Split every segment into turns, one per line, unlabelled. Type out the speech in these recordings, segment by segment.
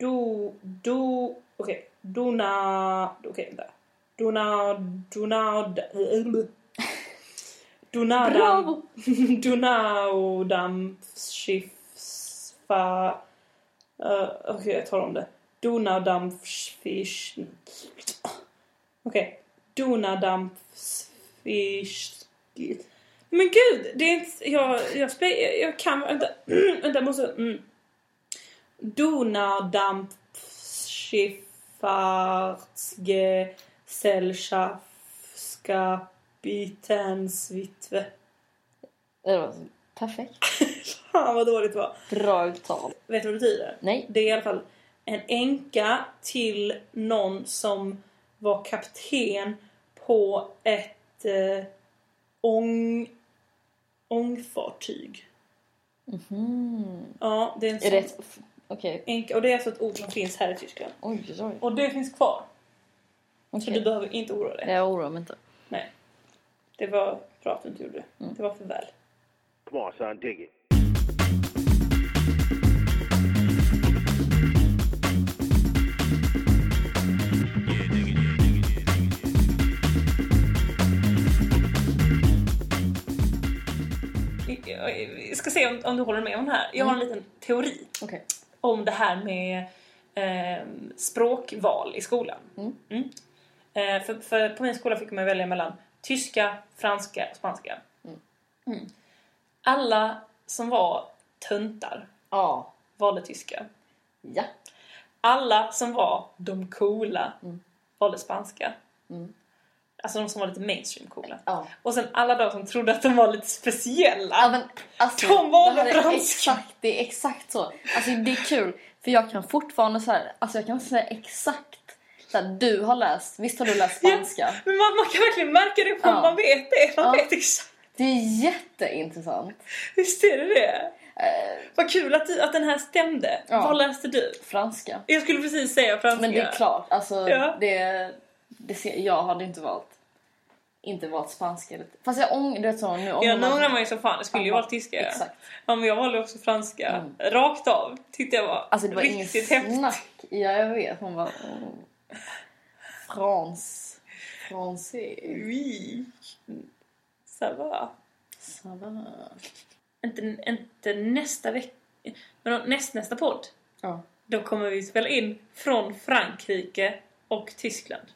Do, do, okej. Dona, okej vänta. Dona, donad, Donadam,
Bravo!
Donaudam, skiffa, uh, okej jag tar om det. Donadam, fish, okej. Donadam, fish, men gud, det är inte, jag, jag, spe, jag kan, vänta, vänta jag måste, mm. Donadamp, Schiffartsge, Sällskapskapitens vitve.
Det var perfekt.
Fan vad dåligt det var.
Bra uttal.
Vet du vad det betyder?
Nej.
Det är i alla fall en änka till någon som var kapten på ett eh, ång, ångfartyg.
Mhm.
Ja, det är en
Är
sån
det ett... f- Okej.
änka. Och det är alltså ett ord som finns här i Tyskland.
Oj, oj.
Och det finns kvar. Så
Okej.
du behöver inte oroa dig.
Jag oroar mig inte.
Nej. Det var bra att du inte gjorde
Mm.
det. Det var för väl.
Come on, son, dig it.
Vi- Vi ska se om, om du håller med om det här. Jag har
Mm.
en liten teori
Okej.
om det här med eh, språkval i skolan.
Mm.
Eh, för, för på min skola fick man välja mellan tyska, franska och spanska. Mm. Alla som var töntar
Ja.
valde tyska.
Ja.
Alla som var de coola
Mm.
valde spanska. Alltså de som var lite mainstream coola.
Ja.
Och sen alla de som trodde att de var lite speciella.
Ja, men, alltså,
De valde
det här är
franska.
Exakt, det är exakt så. Alltså, det är kul, för jag kan fortfarande så här, alltså, jag kan säga exakt så här, du har läst, visst har du läst spanska?
Ja, men man, man kan verkligen märka det på
Ja.
man vet det. Man
Ja.
vet exakt.
Det är jätteintressant.
Visst är det det?
Eh,
Vad kul att, du, att den här stämde.
Ja.
Vad läste du?
franska.
Jag skulle precis säga franska.
Men det är klart, alltså,
Ja.
det, det ser, jag hade inte valt inte valt spanska. eller- Fast jag ångrar, du vet så nu
Ja,
ångrar
nu
man-
ångrar man ju som fan. Det skulle ju
Ja,
vara tyska. ja.
Exakt. Mm.
Ja, men jag valde också franska. Rakt av tyckte jag var,
Alltså det var ingen
riktigt häftigt.
snack. Ja, jag vet. Hon bara... Oh. Frans. Francais.
Oui. Ça va.
Ça va.
Inte, inte nästa vecka. Men näst, nästa podd.
Ja.
Då kommer vi spela in från Frankrike och Tyskland.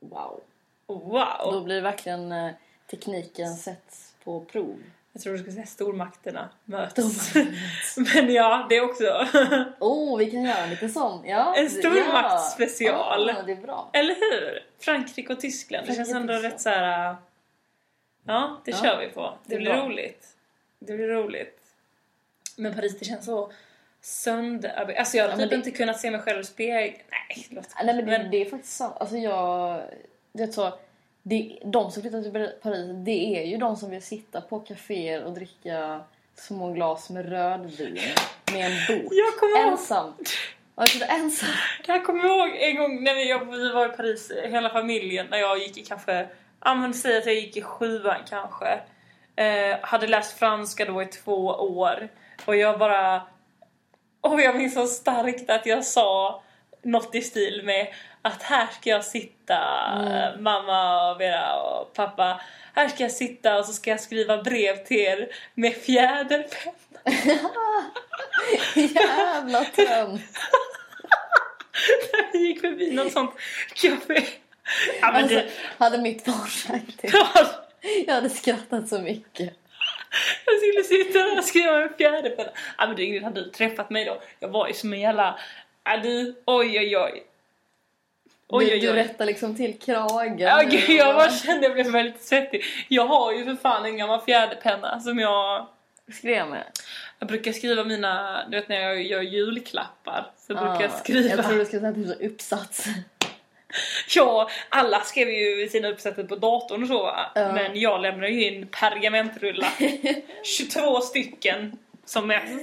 Wow.
Wow!
Då blir det verkligen eh, tekniken sett på prov.
Jag tror du skulle säga stormakterna möts. Men ja, det är också...
Oh, vi kan göra en liten sån. Ja,
En
det-
stormaktsspecial.
Ja. ja, det är bra.
Eller hur? Frankrike och Tyskland. Det känns
Frankrike och
ändå
Tyskland.
rätt så här. äh, Ja, det
Ja,
kör vi på. Det,
det är
blir
bra.
roligt. Det blir roligt. Men Paris, det känns så sönder... Alltså jag hade
Ja, men
typ
det-
inte kunnat se mig själv i spegeln. Nej, låt
Nej, men det,
men-
det är faktiskt sant. Alltså jag... Det så, det, de som flyttar till Paris, det är ju de som vill sitta på kaféer och dricka små glas med rödvin med en bok.
Jag kommer ihåg-
ensam. Ja, jag sitter ensam.
Jag kommer ihåg en gång när vi, jobb- vi var i Paris, hela familjen, när jag gick i kanske, ja men säg att jag gick i sjuan kanske. Eh, hade läst franska då i två år. Och jag bara, och jag minns så starkt att jag sa något i stil med att här ska jag sitta, eh, mamma och Vera och pappa. Här ska jag sitta och så ska jag skriva brev till er med fjäderpenna.
Jävla tönt.
Vi gick förbi något sånt café. Ja, men
Alltså,
det,
hade mitt barn sagt det. Jag hade skrattat så mycket.
Jag skulle sitta där och skriva en fjärde penna. Ja men du Ingrid, hade du träffat mig då? Jag var ju som en jävla... Ja du, oj oj oj. Oj
du,
oj
du
oj.
rättar liksom till kragen.
Ja,
nu
gud, jag
och-
bara kände jag blev väldigt svettig. Jag har ju för fan en gammal fjäderpenna som jag...
Skrev med.
Jag brukar skriva mina... Du vet när jag gör julklappar så brukar jag
Ja,
skriva...
Jag tror du skulle säga typ så uppsats.
Ja, alla skrev ju sina uppsatser på datorn och så va?
Ja.
Men jag lämnade ju in pergamentrullar. 22 stycken som mest.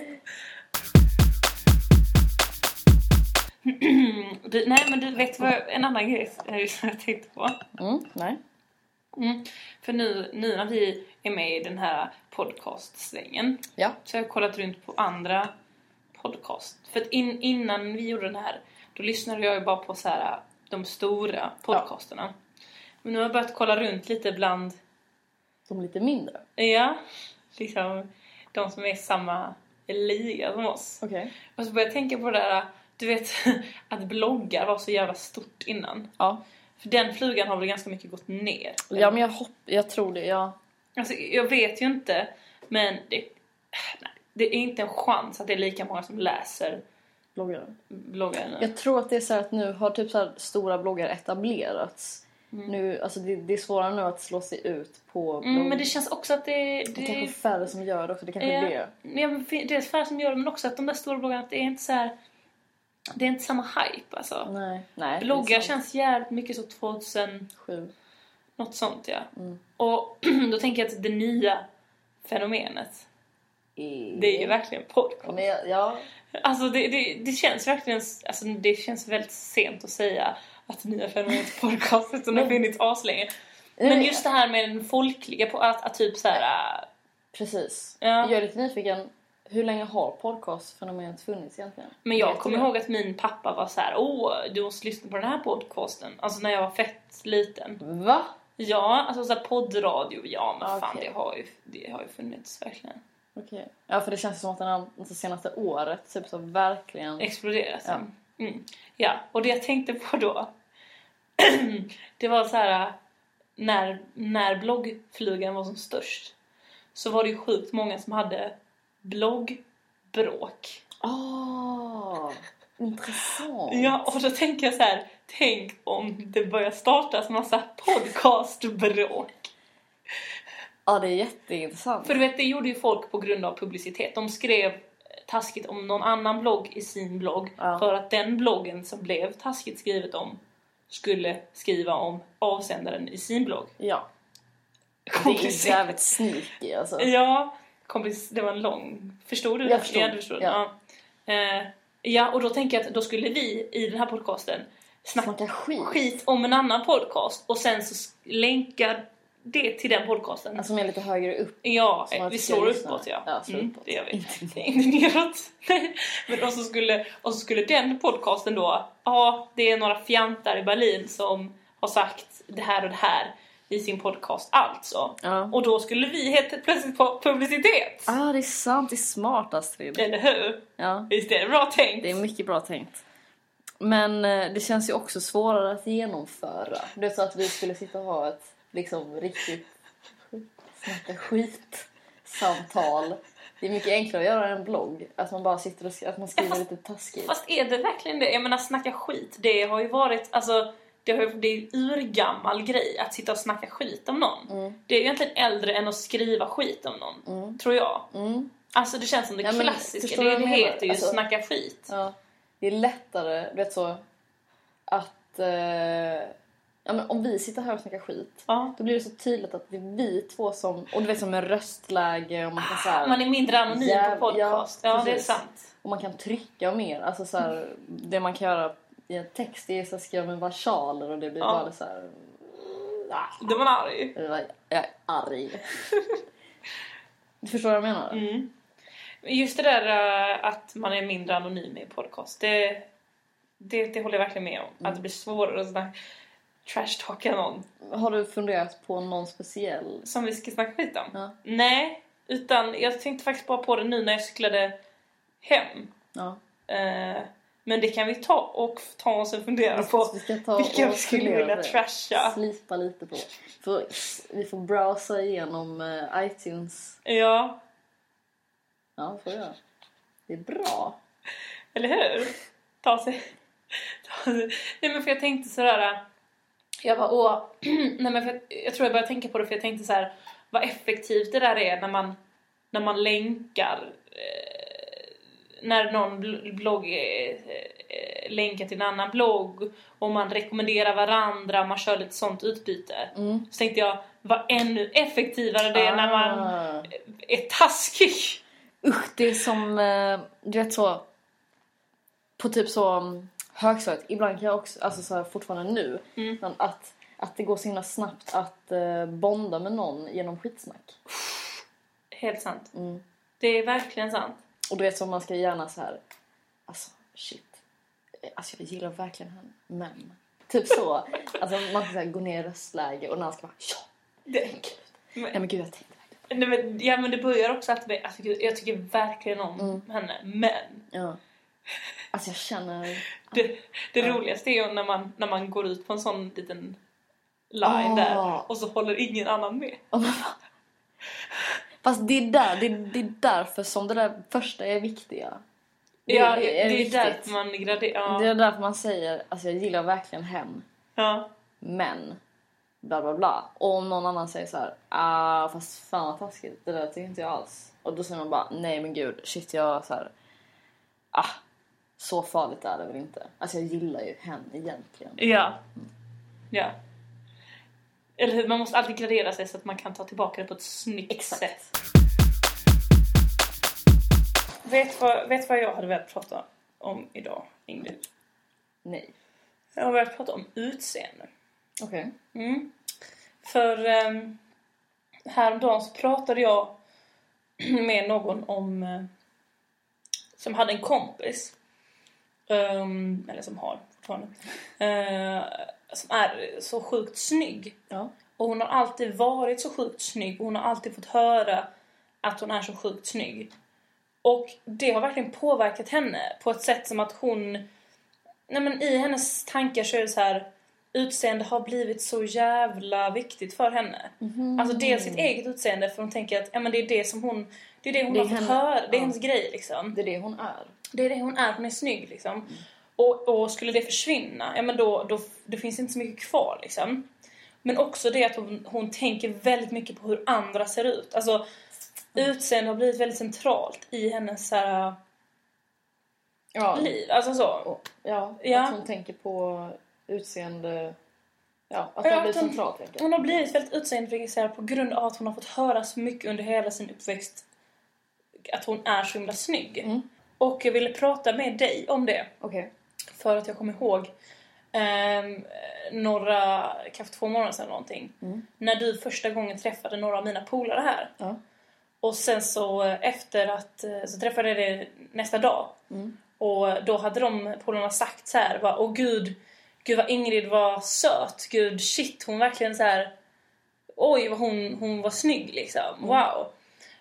du, nej men du vet vad jag- en annan grej som jag tänkte på.
Mm, nej.
Mm. För nu, nu när vi är med i den här podcastsvängen
Ja.
så har jag kollat runt på andra podcast. För att in, innan vi gjorde den här, då lyssnade jag ju bara på så här, de stora podcasterna. Men nu har jag börjat kolla runt lite bland,
De lite mindre.
ja, liksom de som är i samma liga som oss.
Okej.
Och så började jag tänka på det där, du vet att bloggar var så jävla stort innan.
Ja.
För den flugan har väl ganska mycket gått ner.
ja, men jag, hopp, jag tror det. Jag,
Alltså, jag vet ju inte, men det, nej, det är inte en chans att det är lika många som läser
bloggar.
bloggar nu.
jag tror att det är så här att nu har typ så här stora bloggar etablerats. Nu, alltså det, det är svårare nu att slå sig ut på blogg.
Mm, men det känns också att det,
det kanske är
det,
färre som gör det också. Det kanske är
Ja.
det.
ja, men fin- det är färre som gör det, men också att de där stora bloggarna, att det är inte så här, det är inte samma hype alltså.
Nej. Nej det är
Bloggar
sant.
känns jävligt mycket så 2000,
Sju.
något sånt ja.
Mm.
Och då tänker jag att det nya fenomenet, det är ju verkligen podcast.
Men jag, ja,
Alltså det, det, det känns verkligen alltså det känns väldigt sent att säga att nya fenomenet podcast eftersom det har funnits aslänge. Men just det här med den folkliga, på att, att typ så här. äh,
Precis.
Ja.
Jag är lite nyfiken. Hur länge har podcastfenomenet funnits egentligen?
Men jag
Vet
kommer
du?
ihåg att min pappa var så här: åh du måste lyssna på den här podcasten. Alltså när jag var fett liten.
Va?
Ja, alltså såhär poddradio, ja men fan
Okej.
det har, ju, det har ju funnits verkligen.
Okej. Ja, för det känns som att den har det senaste året typ så verkligen...
exploderat
Ja.
sen. Mm. Ja, och det jag tänkte på då det var så här när, när bloggflugan var som störst så var det ju sjukt många som hade bloggbråk.
Ah, intressant.
Ja, och då tänker jag så här, tänk om det börjar startas massa podcastbråk.
Ja, det är jätteintressant.
För du vet, det gjorde ju folk på grund av publicitet. De skrev taskigt om någon annan blogg i sin blogg
Ja.
för att den bloggen som blev taskigt skrivet om skulle skriva om avsändaren i sin blogg.
Ja, det är
Komplicerat.
jävligt sneaky alltså.
Ja, komplis- det var en lång... Förstod du? det?
Jag förstod.
Ja, du förstod.
Ja.
Ja. Eh, ja, och då tänker jag att då skulle vi i den här podcasten snacka
Snacka skit.
skit om en annan podcast och sen så s- länka det till den podcasten.
Alltså, som är lite högre upp.
Ja,
Som att
vi
vi
slår
ska
uppåt
lyssna.
ja.
Ja, slår
mm,
uppåt.
Det gör vi.
Inte
Inte neråt. Nej. Men och så, skulle, och så skulle den podcasten då, ja det är några fjantar i Berlin som har sagt det här och det här i sin podcast alltså.
Ja.
Och då skulle vi helt plötsligt få publicitet.
Ah, det är sant. Det är smart, Astrid.
Eller hur?
Ja,
Visst är det bra tänkt?
det är mycket bra tänkt. Men eh, det känns ju också svårare att genomföra. Det är så att vi skulle sitta och ha ett liksom riktigt snacka skit-samtal. Det är mycket enklare att göra en blogg. Att man bara sitter och sk- att man skriver lite taskigt.
Fast är det verkligen det? Jag menar snacka skit, det har ju varit, alltså det, har, ju- det är ju en urgammal grej att sitta och snacka skit om någon. Det är ju egentligen äldre än att skriva skit om någon, tror jag.
Mm. Mm.
Alltså det känns som det
Ja, men
klassiska,
förstår
det
du vad jag menar?
heter ju
Alltså-
snacka skit.
Ja, det är lättare, du vet så, att... Eh, ja, men om vi sitter här och snackar skit,
Ja.
då blir det så tydligt att det är vi två som... Och du vet som en röstläge och man kan, Ah, så här,
Ah, Man är mindre anonym
Jäv-
på podcast. Ja,
ja,
det är
precis.
sant.
och man kan trycka mer. Alltså så här, det man kan göra i en text det är så att skriva med versaler och det blir
Ja.
bara så här... "Ah,
Då är man arg.
Jag är jag är arg. du förstår vad jag menar?
Mm. Men Just det där eh, att man är mindre anonym i podcast, det, det, det håller jag verkligen med om.
Mm.
Att det blir svårare att snacka trashtalka någon
Har du funderat på någon speciell?
som vi ska snacka skit om.
Ja.
Nej, utan jag tänkte faktiskt bara på det nu när jag cyklade hem.
Ja.
Eh, men det kan vi ta och ta oss en fundera på.
Vi ska ta
Vilka
och
vi skulle
fundera
vilja
på det.
trasha.
Slipa lite på. För vi får browsa igenom eh, iTunes.
Ja,
Ja, får vi göra. Det är bra.
Eller hur? Ta sig... Ta sig. Nej men för jag tänkte sådär... äh, Jag bara åh... Nej men för jag, jag tror jag började tänka på det för jag tänkte så här: Vad effektivt det där är när man, när man länkar... Eh, när någon bl- blogg eh, eh, länkar till en annan blogg och man rekommenderar varandra och man kör lite sånt utbyte.
Mm.
Så tänkte jag, vad ännu effektivare det är när man
Ah.
är taskig.
Usch, det är som, eh, du vet så, på typ så mm, högstadiet, ibland kan jag också, alltså så här, fortfarande nu,
Mm.
men att, att det går så himla snabbt att eh, bonda med någon genom skitsnack.
Helt sant.
Mm.
Det är verkligen sant.
Och du vet så, man ska gärna så här Alltså, shit. Alltså, jag gillar verkligen han. Men. Typ så. Alltså, man kan så här, gå ner i röstläge och när han ska bara ja.
Det,
Nej
men,
men gud, jag tänkte
nej,
verkligen.
men, ja, men det börjar också att alltså, gud, jag tycker verkligen om
Mm.
henne. Men
Ja. Alltså jag känner...
det, det
Ja.
roligaste är ju när man, när man går ut på en sån liten line
Ah.
där och så håller ingen annan med.
Oh, men fan. Fast det är, där, det, det är därför som det där första är viktiga. Det-
ja,
det är
det är
viktigt.
därför man graderar. Ja.
Det är därför man säger alltså jag gillar verkligen hen,
Ja.
men bla bla bla. Och om någon annan säger så här, ah fast fan vad taskigt, det där tycker inte jag alls. Och då säger man bara, nej men gud, shit jag så här, ah så farligt är det väl inte. Alltså jag gillar ju hen egentligen.
Ja. Ja. Eller hur? Man måste alltid gradera sig så att man kan ta tillbaka det på ett snyggt
Exakt.
sätt. Vet vad, vet vad jag hade velat prata om idag, Ingrid?
Nej.
Jag har velat prata om utseende.
Okej.
Mm. För um, häromdagen så pratade jag med någon om eh, som hade en kompis. Ehm, eller som har fortfarande. Eh, som är så sjukt snygg.
Ja.
Och hon har alltid varit så sjukt snygg. Och hon har alltid fått höra att hon är så sjukt snygg. Och det har verkligen påverkat henne på ett sätt som att hon... Nej men i hennes tankar så är det så här utseende har blivit så jävla viktigt för henne.
Mhm.
Alltså dels sitt eget utseende för hon tänker att ja, men det är det som hon det är det hon
Det är
har fått
henne.
höra, det är
Ja.
hennes grej liksom.
Det är det hon är.
Det är det hon är, hon är snygg liksom. Och, och skulle det försvinna, ja men då, då det finns inte så mycket kvar liksom. Men också det att hon, hon tänker väldigt mycket på hur andra ser ut. Alltså
Mm.
utseende har blivit väldigt centralt i hennes så här,
Ja.
liv. Alltså så.
Och, ja,
Ja.
Att hon tänker på utseende. Ja, att
Ja,
det blir
att hon-
centralt helt enkelt.
Hon har blivit väldigt utseendefixerad på grund av att hon har fått höra så mycket under hela sin uppväxt att hon är så himla snygg.
Mm.
Och jag ville prata med dig om det
Okej.
för att jag kommer ihåg ehm, några, kanske två månader sedan någonting,
Mm.
när du första gången träffade några av mina polare här.
Ja.
Och sen så eh, efter att, eh, så träffade jag dig nästa dag
Mm.
och då hade de polarna sagt så här, bara, åh gud, gud vad Ingrid var söt, gud shit hon verkligen så här, oj vad hon, hon var snygg liksom,
Mm.
wow.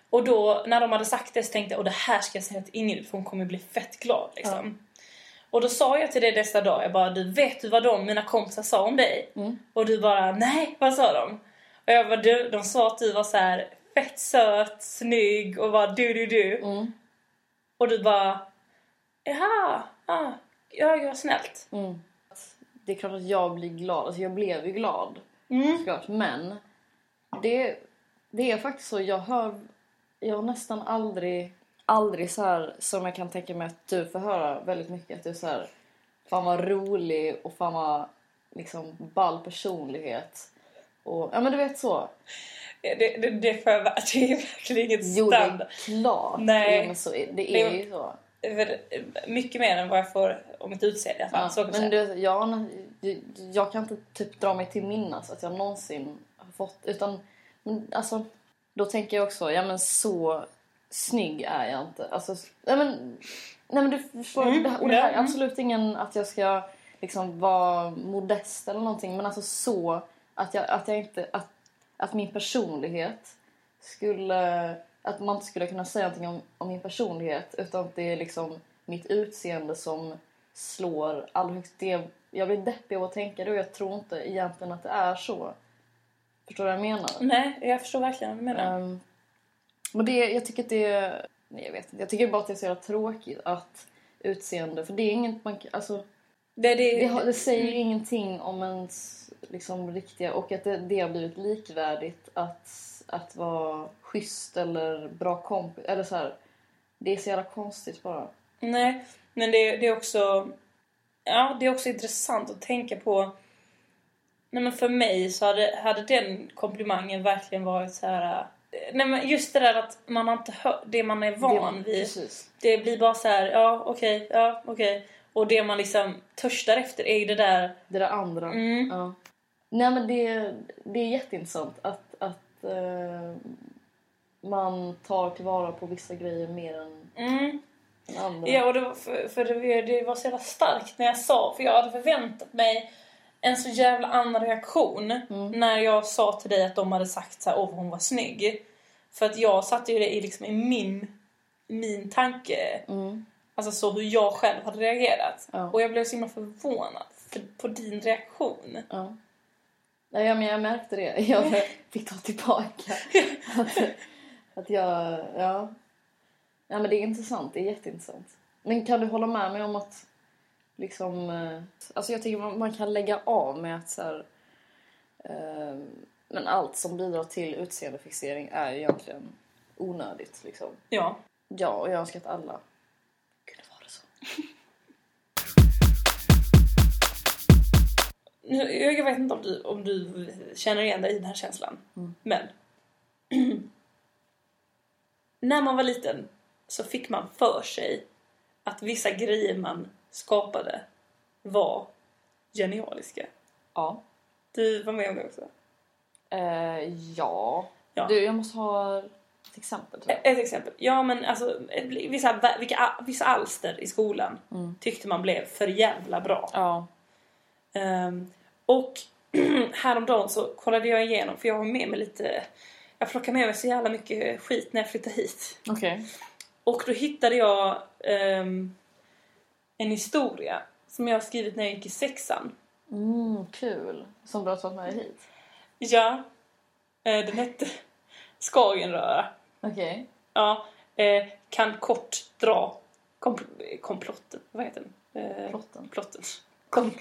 Och då när de hade sagt det så tänkte jag, åh det här ska jag säga till Ingrid för hon kommer bli fett glad liksom. Och då sa jag till dig nästa dag, jag bara, du vet du vad de, mina kompisar sa om dig?
Mm.
Och du bara, nej vad sa de? Och jag bara, du, de sa att du var så här fett söt, snygg och bara du du du.
Mm.
Och du bara... Jaha! Ah, ja, ja, snällt.
Mm. Det är klart att jag blir glad. Alltså jag blev ju glad
Mm.
såklart. Men det, det är faktiskt så. Jag hör jag har nästan aldrig, aldrig så här som jag kan tänka mig att du får höra väldigt mycket. Att du är så här, fan vad rolig och fan vad liksom ball personlighet. Och, ja men du vet så.
Det, det, det, får jag, vä- det är verkligen inget
Jo, det är
standard.
klart.
Nej.
Jo, men så, är- det
Nej,
är
men-
ju så.
För Mycket mer än vad jag får om mitt utseende i alla fall.
Ja,
så kan jag
men
säga.
du, jag, jag kan inte typ dra mig till minnas att jag någonsin har fått... Utan, men, alltså, då tänker jag också, ja men så snygg är jag inte. Alltså, nej, men, nej men du förstår,
Mm,
det, här- och det här är
mm.
absolut ingen att jag ska liksom vara modest eller någonting. Men alltså så att jag, att jag inte... Att, att min personlighet skulle... Att man inte skulle kunna säga någonting om, om min personlighet utan att det är liksom mitt utseende som slår allra högst. Det, jag blir deppig av att tänka det och jag tror inte egentligen att det är så. Förstår du vad jag menar?
Nej, jag förstår verkligen vad du menar.
Ehm, men det, jag tycker att det... Nej, jag vet inte. Jag tycker bara att det är så jävla tråkigt att utseende... För det är inget man... kan- Alltså,
Det, det,
det, har, det säger ju ingenting om ens liksom, riktiga... Och att det, det har blivit likvärdigt att, att vara schysst eller bra kompis. Eller så här, Det är så jävla konstigt bara.
Nej, men det, det är också... Ja, det är också intressant att tänka på... Nej, men för mig så hade, hade den komplimangen verkligen varit så här... eh, Nej, men just det där att man har inte hört det man är van
det,
vid.
Precis.
Det blir bara så här, ja okej, ja okej. Och det man liksom törstar efter är ju det där...
Det där andra.
Mm.
Ja. Nej men det, det är jätteintressant att, att eh, man tar tillvara på vissa grejer mer än
Mm,
Den andra.
Ja, och det var, för, för det, var- det var så jävla starkt när jag sa, för jag hade förväntat mig en så jävla annan reaktion
Mm.
när jag sa till dig att de hade sagt så här, åh vad hon var snygg. För att jag satte ju det i, liksom, i min, min tanke,
Mm.
alltså så hur jag själv hade reagerat.
Ja.
Och jag blev så himla förvånad för, på din reaktion.
Ja. Nej, ja, men jag märkte det. Jag fick ta tillbaka. Att, att jag, ja. ja. men det är intressant. Det är jätteintressant. Men kan du hålla med mig om att liksom... eh, Alltså jag tycker man, man kan lägga av med att så här, eh, Men allt som bidrar till utseendefixering är ju egentligen onödigt liksom.
Ja.
Ja, och jag önskar att alla kunde vara så.
Nu- Jag vet inte om du, om du känner igen dig i den här känslan. Men. när man var liten så fick man för sig att vissa grejer man skapade var genialiska.
Ja.
Du var med om det också.
Eh, ja.
Ja.
Du, jag måste ha ett exempel. Tror jag.
E- Ett exempel. Ja men alltså vissa, vä- vilka, vissa alster i skolan tyckte man blev för jävla bra.
Ja.
Ehm, och häromdagen så kollade jag igenom, för jag har med mig lite... Jag plockar med mig så jävla mycket skit när jag flyttar hit.
Okej.
Och då hittade jag ehm, en historia som jag har skrivit när jag gick i sexan.
Mm, kul. Som du har tagit med dig hit.
Ja, eh, den hette Skagenröra.
Okej.
Ja, eh, kan kort dra komp- komplotten. Vad heter den? Eh,
Plotten.
plotten. Kom-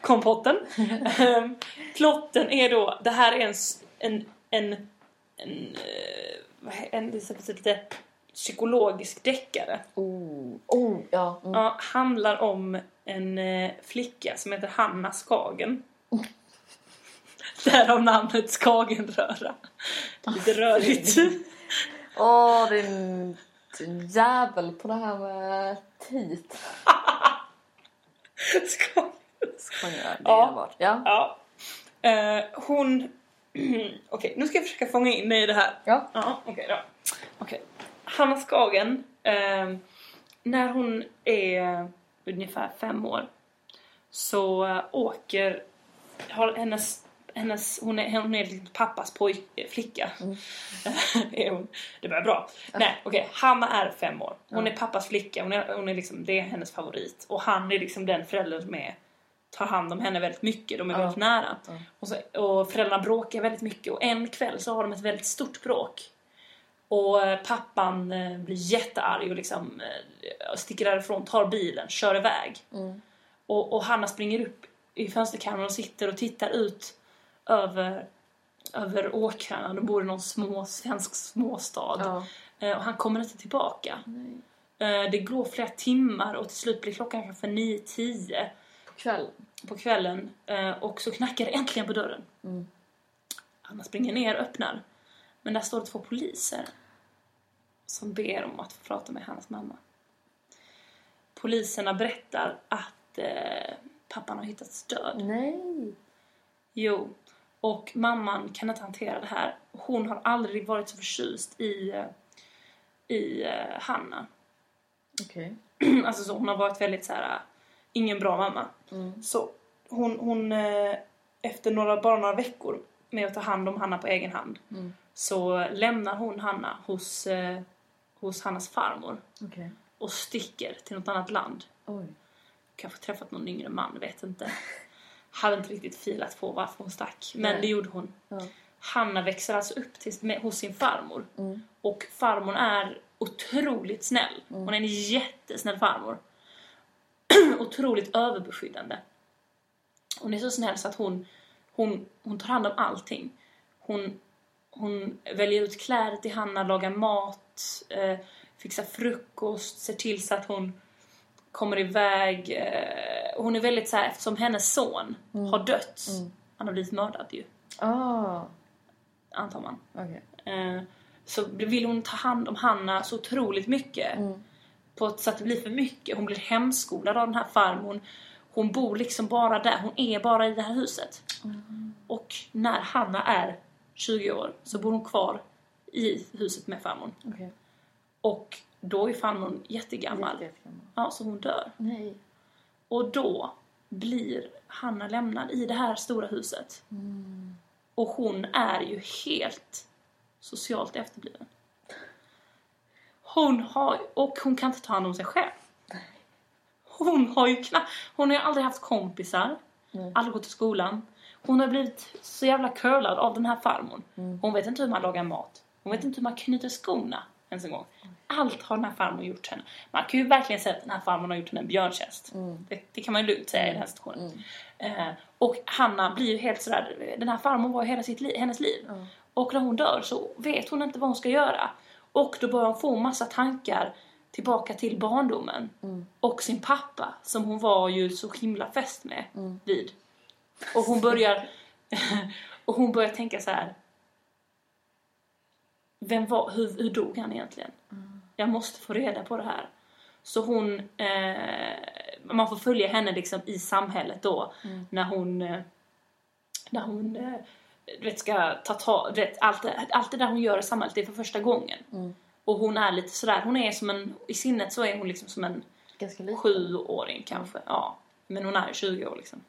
kompotten. Ehm, plotten är då, det här är en, s- en, en, en, eh, vad he- en, liksom lite psykologisk deckare.
Oh. Oh, ja. Mm.
Ja, handlar om en eh, flicka som heter Hanna Skagen. Därav namnet Skagenröra. Lite rörigt.
Åh, din din jävel på det här med tit.
Skagen.
Skojar. Det
Ja.
är enbart. Ja.
Ja. Eh, hon... Okej, nu ska jag försöka fånga in mig i det här.
Ja.
Ja, okej då. Okej. Hanna Skagen, eh, när hon är ungefär fem år så eh, åker har hennes, hennes hon är, hon är lite pappas poj, eh, flicka. är hon. Det börjar bra. Nej, okej. Hanna är fem år. Hon är pappas flicka. Hon är, hon är liksom, det är hennes favorit. Och han är liksom den föräldern som är, tar hand om henne väldigt mycket. De är väldigt nära. Och, så, och föräldrarna bråkar väldigt mycket. Och en kväll så har de ett väldigt stort bråk. Och eh, pappan eh, blir jättearg och liksom eh, sticker därifrån, tar bilen, kör iväg. Och, och Hanna springer upp i fönsterkammaren och sitter och tittar ut över, över åkrarna. De bor i någon små, svensk småstad.
Ja.
Eh, Och han kommer inte tillbaka. Eh, Det går flera timmar och till slut blir klockan kanske 9-10
På kväll.
på kvällen eh, och så knackar det äntligen på dörren. Anna springer ner och öppnar. Men där står det två poliser som ber om att få prata med hans mamma. Poliserna berättar att eh, pappan har hittats död.
Nej.
Jo, och mamman kan inte hantera det här. Hon har aldrig varit så förtjust i, eh, i eh, Hanna.
Okej.
alltså så hon har varit väldigt så här äh, ingen bra mamma. Så hon, hon eh, efter några, bara några veckor med att ta hand om Hanna på egen hand så lämnar hon Hanna hos, eh, hos Hannas farmor
Okej.
och sticker till något annat land.
Oj.
Kanske träffat någon yngre man, vet inte. Hade inte riktigt filat på varför hon stack, men
Nej.
det gjorde hon.
Ja.
Hanna växer alltså upp till, med, hos sin farmor.
Mm.
Och farmor är otroligt snäll. Hon är en jättesnäll farmor. otroligt överbeskyddande. Hon är så snäll så att hon, hon, hon tar hand om allting. Hon, hon väljer ut kläder till Hanna, lagar mat, eh, fixar frukost, ser till så att hon kommer iväg. Eh, och hon är väldigt så här, eftersom hennes son har dött, han har blivit mördad ju,
Ah.
antar man.
Okej.
Eh, så vill hon ta hand om Hanna så otroligt mycket. På ett, så att det blir för mycket. Hon blir hemskolad av den här farmor. Hon bor liksom bara där. Hon är bara i det här huset. Och när Hanna är 20 år så bor hon kvar i huset med farmor.
Okej.
Och Då är fan hon jättegammal.
Jättegammal.
Ja, så hon dör.
Nej.
Och då blir Hanna lämnad i det här stora huset. Och hon är ju helt socialt efterbliven. Hon har, och hon kan inte ta hand om sig själv. Hon har ju knappt, hon har ju aldrig haft kompisar, aldrig gått till skolan. Hon har blivit så jävla curlad av den här farmor. Hon vet inte hur man lagar mat. Hon vet inte hur man knyter skorna ens en gång. Allt har den här farmor gjort henne. Man kan ju verkligen säga att den här farmor har gjort henne en björntjänst. Det, det kan man ju lugnt säga i den här situationen. Eh, och Hanna blir ju helt sådär, den här farmor var ju hela sitt li- hennes liv. Och när hon dör så vet hon inte vad hon ska göra. Och då börjar hon få massa tankar tillbaka till barndomen. Och sin pappa som hon var ju så himla fäst med vid. Och hon börjar och hon börjar tänka så här. Vem var, hur, hur dog han egentligen? Jag måste få reda på det här. Så hon, eh, man får följa henne liksom i samhället då när hon, eh, när hon eh, du vet, ska ta tag, du vet, allt, det- allt det där hon gör i samhället det är för första gången. Och hon är lite sådär, hon är som en, i sinnet så är hon liksom som en
Ganska liten.
sjuåring kanske. Ja. Men hon är ju 20 år liksom.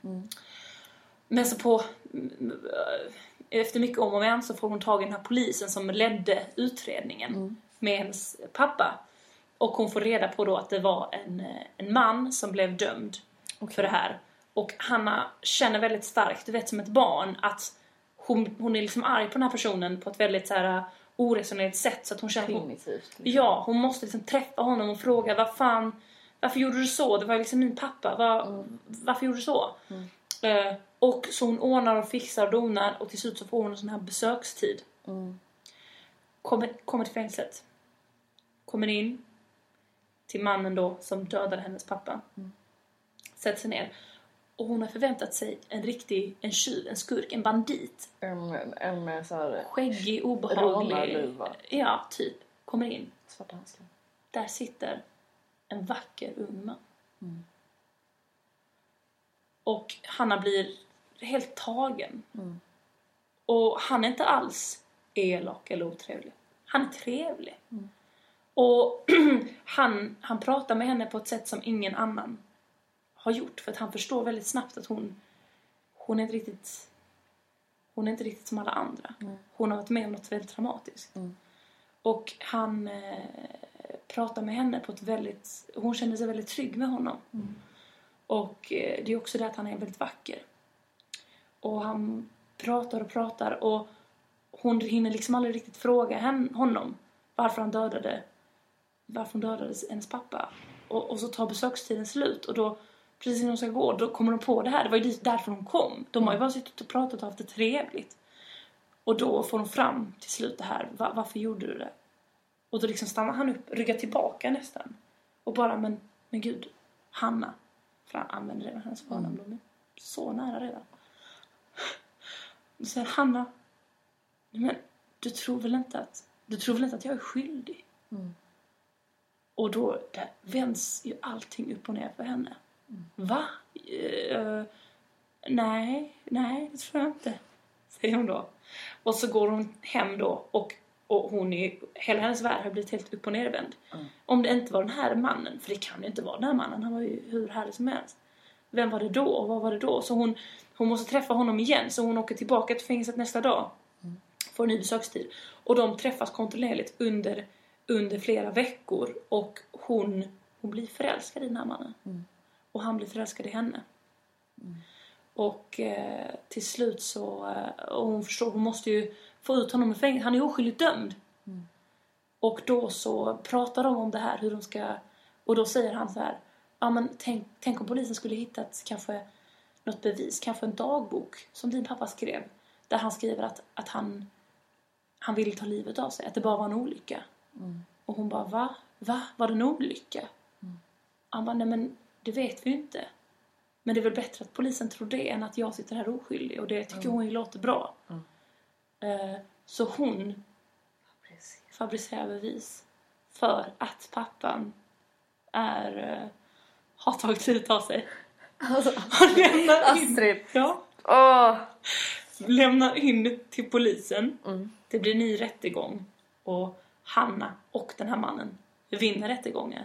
Men så på... eh, Efter mycket om och men så får hon tag i den här polisen som ledde utredningen med hennes pappa. Och hon får reda på då att det var en, eh, en man som blev dömd för det här. Och Hanna känner väldigt starkt, du vet som ett barn, att hon, hon är liksom arg på den här personen på ett väldigt så här eh, oresonerat sätt så att hon känner att hon,
Primitivt. liksom.
Ja, hon måste liksom träffa honom och fråga vad fan, varför gjorde du så? Det var liksom min pappa. Va, Varför gjorde du så? Eh, och så hon ordnar och fixar och donar och till slut så får hon en sån här besökstid. Kommer, kommer till fängelset. Kommer in till mannen då som dödade hennes pappa. Sätter sig ner. Och hon har förväntat sig en riktig, en tjuv, en skurk, en bandit.
En, en, en sån här eh,
Skäggig, obehaglig.
rånarluva.
Ja, typ. Kommer in.
Svarta handskar.
Där sitter en vacker ung man. Och Hanna blir helt tagen. Och han är inte alls elak eller otrevlig. Han är trevlig. Och han, han pratar med henne på ett sätt som ingen annan har gjort. För att han förstår väldigt snabbt att hon, hon är inte riktigt... Hon är inte riktigt som alla andra. Hon har varit med om något väldigt traumatiskt. Och han eh, pratar med henne på ett väldigt... Hon känner sig väldigt trygg med honom. Och eh, det är också det att han är väldigt vacker. Och han pratar och pratar och hon hinner liksom aldrig riktigt fråga hen- honom varför han dödade varför hon dödade hennes pappa. Och, och så tar besökstiden slut och då precis innan hon ska gå då kommer de på det här. Det var ju dit- därför hon kom. De har ju bara suttit och pratat och haft det trevligt. Och då får de fram till slut det här. Va, varför gjorde du det? Och då liksom stannar han upp, ryggar tillbaka nästan. Och bara men, men gud, Hanna. För han använder redan hennes förnamn. De är så nära redan. Då säger Hanna. "Nej, Men du tror väl inte att, du tror väl inte att jag är skyldig? Och då där vänds ju allting upp och ner för henne. Va? Eh, nej, nej, det tror jag inte. Säger hon då. Och så går hon hem då och, och hon är, hela hennes värld har blivit helt upp och nervänd. Om det inte var den här mannen, för det kan ju inte vara den här mannen, han var ju hur härlig som helst. Vem var det då och vad var det då? Så hon, hon måste träffa honom igen så hon åker tillbaka till fängelset nästa dag får ny besökstid. Och de träffas kontinuerligt under, under flera veckor och hon, hon blir förälskad i den här mannen. Och han blir förälskad i henne. Och eh, till slut så, eh, och hon förstår, hon måste ju få ut honom ur fängelse. Han är ju oskyldigt dömd. Och då så pratar de om det här, hur de ska... Och då säger han så här, ja men tänk, tänk om polisen skulle hittat kanske något bevis, kanske en dagbok som din pappa skrev. Där han skriver att, att han, han ville ta livet av sig, att det bara var en olycka. Och hon bara, va? Va? Var det en olycka? Han bara, nej men det vet vi ju inte. Men det är väl bättre att polisen tror det än att jag sitter här oskyldig och det tycker hon ju låter bra. Eh, så hon
Precis.
fabricera bevis för att pappan är, eh, har tagit livet av sig.
Alltså,
Och lämnar in,
Astrid.
ja,
Åh!
lämnar in till polisen. Det blir ny rättegång och Hanna och den här mannen vinner rättegången.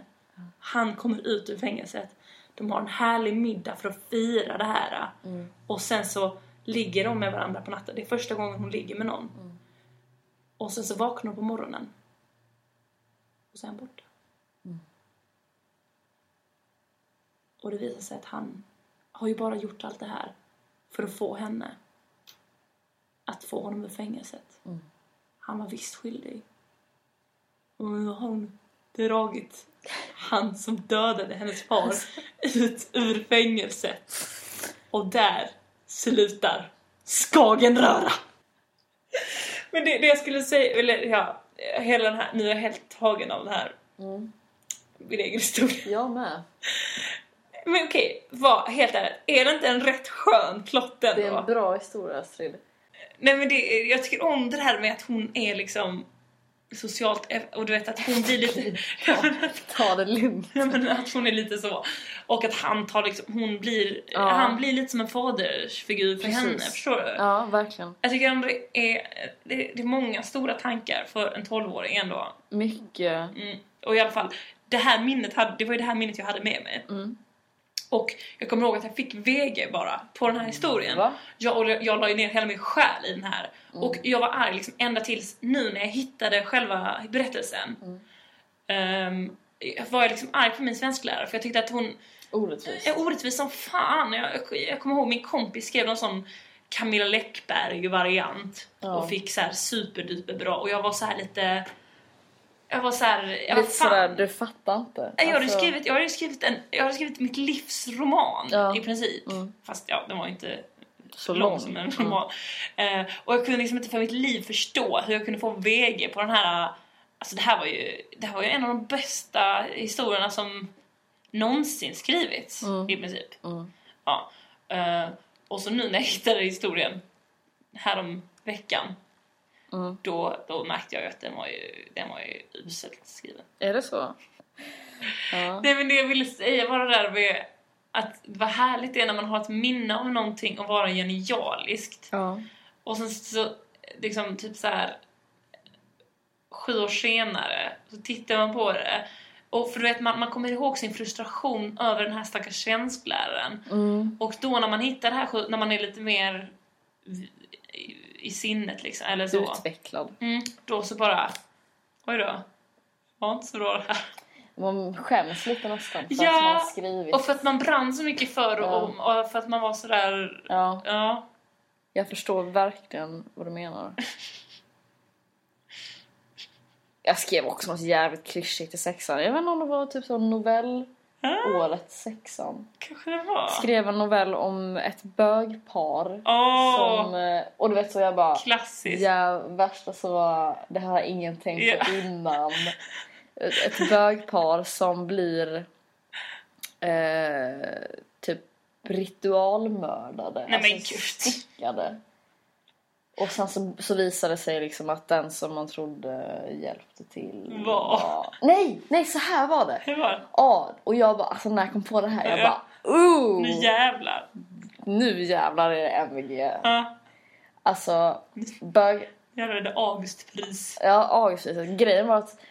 Han kommer ut ur fängelset. De har en härlig middag för att fira det här.
Mm.
Och sen så ligger de med varandra på natten. Det är första gången hon ligger med någon. Och sen så vaknar hon på morgonen. Och sen borta. Och det visar sig att han har ju bara gjort allt det här för att få henne. Att få honom ur fängelset. Han var visst skyldig. Och nu har hon dragit han som dödade hennes far ut ur fängelset. Och där slutar Skagenröra! Men det, det jag skulle säga, eller ja, hela den här, nu är jag helt tagen av den här,
Mm.
min egen historia.
Jag med.
Men okej, vad, helt ärligt, är det inte en rätt skön plott ändå?
Det är en bra historia Astrid.
Nej men det, jag tycker om det här med att hon är liksom socialt eff- och du vet att hon blir lite... Ja, men att-
Ta det lugnt.
ja, men att hon är lite så. Och att han tar liksom, hon blir,
Ja.
han blir lite som en fadersfigur för
Precis.
henne, förstår du?
Ja, verkligen.
Jag tycker ändå det är, det, det är många stora tankar för en 12-åring ändå.
Mycket.
Mm. Och i alla fall, det här minnet hade, det var ju det här minnet jag hade med mig.
Mm.
Och jag kommer ihåg att jag fick VG bara på den här historien.
Mm. Va? Mm.
Jag, och jag la ju ner hela min själ i den här. Och jag var arg liksom ända tills nu när jag hittade själva berättelsen.
Mm.
Ehm, var jag liksom arg på min svensklärare för jag tyckte att hon
Orättvist.
är Eh, orättvis som fan. Jag, jag kommer ihåg min kompis skrev någon sån Camilla Läckberg-variant
Ja.
och fick så här superduper bra och jag var så här lite... Jag var så här, jag var
Lite sådär,
fan.
du fattar inte.
Nej, Jag hade,
Alltså,
skrivit, jag, hade skrivit en, jag hade skrivit mitt livs roman
Ja.
i princip.
Mm.
Fast ja, den var ju inte
så
lång,
lång.
som en
Mm.
roman. Eh, och jag kunde liksom inte för mitt liv förstå hur jag kunde få VG på den här... Alltså det här var ju, det här var ju en av de bästa historierna som någonsin skrivits
Mm.
i princip.
Mm.
Ja. Eh, och så nu när jag hittade historien härom veckan
Mm.
då, då märkte jag ju att den var ju, den var ju uselt skriven.
Är det så? Ja.
Nej men det jag ville säga var det där med att vad härligt det är när man har ett minne av någonting och vara genialiskt.
ja.
Och sen så liksom typ så här sju år senare så tittar man på det och för du vet man, man kommer ihåg sin frustration över den här stackars svenskläraren
Mm.
och då när man hittar det här sju- när man är lite mer i, i sinnet liksom eller så
Utvecklad.
mm, då så bara oj då var inte så bra det här
Man skäms lite nästan för
Ja,
att man har skrivit.
och för att man brann så mycket för och, om och för att man var så där
Ja,
ja
jag förstår verkligen vad du menar. Jag skrev också något jävligt klyschigt i sexan. Jag vet inte om det var typ så novell
ah,
året sexan.
kanske det var
Skrev en novell om ett bögpar.
åh
Som, eh, och du vet så jag bara...
klassiskt
Ja, värsta så var det här har ingen tänkt på innan. Ett bögpar som blir eh, typ ritualmördade. Alltså,
Nej, men gud.
styckade. Och sen så, så visade det sig liksom att den som man trodde hjälpte till
Var.
Nej, nej så här var det.
hur var det?
Ja, och jag bara, alltså när jag kom på det här, jag
Ja.
bara, ooh!
Nu jävlar!
Nu jävlar är det MVG.
Ja,
Alltså,
Mm.
bög,
jävlar är det Augustpris.
Ja, avgiftspriset. Grejen var att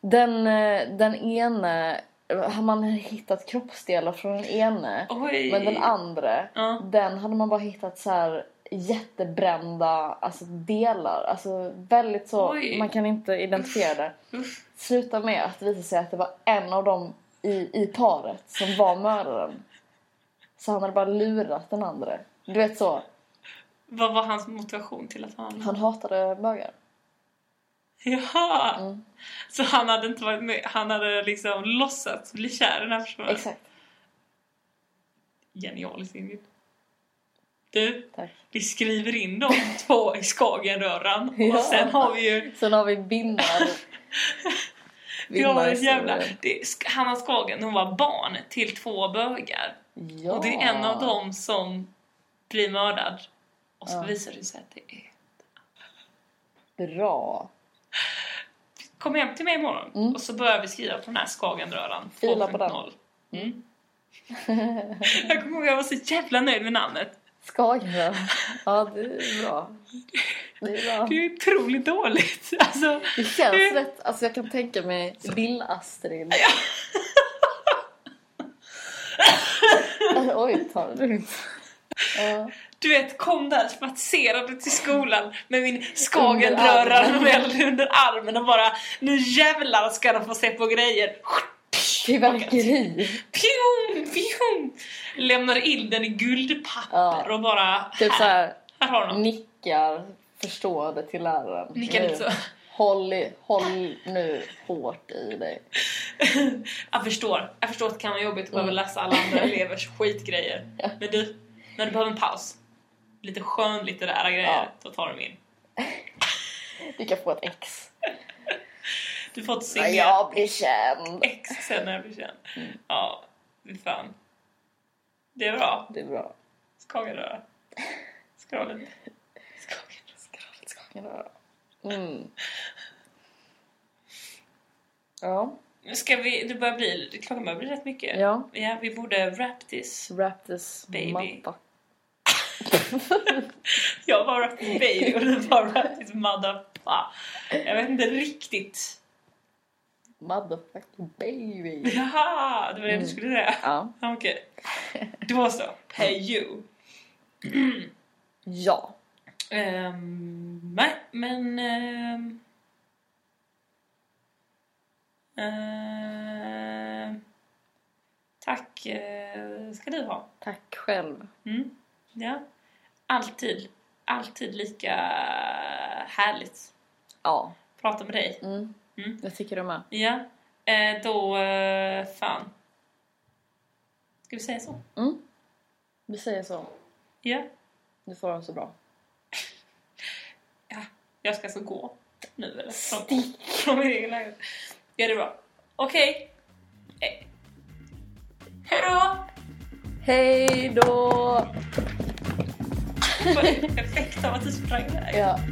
den, eh, den ene, har man hittat kroppsdelar från den ene.
Oj!
Men den andra,
Ja.
den hade man bara hittat så här jättebrända alltså delar. Alltså väldigt så,
Oj.
man kan inte identifiera det.
Uff.
Sluta med att det visade sig att det var en av dem i, i paret som var mördaren. Så han hade bara lurat den andra. Du vet så,
Vad var hans motivation till att han...
han hatade bögar.
Jaha!
Mm.
Så han hade inte varit med, han hade liksom låtsats bli kär i den här personen?
Exakt.
Genialiskt Ingrid. Du,
Tack.
vi skriver in de två i Skagenröran
Ja.
och sen har vi ju...
Sen har vi binnar.
Vi har ett jävla...
Vinnarhistorien.
Det, är- Hanna Skagen, hon var barn till två bögar.
Ja.
Och det är en av dem som blir mördad. Och så
Ja.
visar det sig att det är
Bra.
Kom hem till mig imorgon
Mm.
och så börjar vi skriva på den här Skagenröran
Fila på den.
2.0. Mm. jag kommer ihåg jag var så jävla nöjd med namnet.
Skagenröra. Ja, det är bra. Det är bra.
Det är otroligt dåligt. Alltså,
Det känns rätt. Alltså jag kan tänka mig Lill-Astrid. Oj, ta det lugnt. Ja.
du vet, kom där spatserande till skolan med min
Under armen.
skagenrörare under armen och bara nu jävlar ska de få se på grejer.
Fyrverkeri.
Pjum, pjum. Lämnar in den i guldpapper
Ja.
och bara
Typ så
här,
här,
här har de.
nickar förstående till läraren.
Nickar
Nu.
lite så.
Håll, i, håll nu hårt i dig.
Jag förstår. Jag förstår att det kan vara jobbigt att behöva läsa alla andra elevers skitgrejer.
Mm. Ja.
Men du, när du behöver en paus, lite skönlitterära grejer,
Ja.
då tar du in.
Du kan få ett ex.
Du får inte
När
synga
jag blir känd.
X sen när jag blir känd.
Mm.
Ja, fy fan. Det är bra.
Det är bra.
Skagenröra. Skrolla lite. Skagenröra.
Mm. Ja.
Nu Ska vi, det börjar bli, klockan börjar bli rätt mycket.
ja.
Ja, vi borde wrap this.
Wrap this
Baby.
motherfucker.
Jag var wrap this baby och du var wrap this motherfucker. Jag vet inte riktigt.
Motherfucking baby.
Jaha, det var det
Mm.
du skulle säga.
Ja.
Ja, Okej. Då så. Pay you.
Ja.
Ehm, nej, men... ehm, ehm, tack eh, ska du ha.
Tack själv.
Mm. Ja. Alltid, alltid lika härligt
Ja.
att prata med dig.
Mm.
Mm.
Jag tycker du med.
Ja. Eh, då... eh, fan. Ska vi säga så?
Mm. Vi säger så.
Ja.
Du får ha det så bra.
Jag ska alltså gå nu eller? Från, från min egen lägenhet. Ja, det är bra. Okej. Eh. Hejdå!
Hej då!
Vad Effekt av att du sprang iväg.
Ja.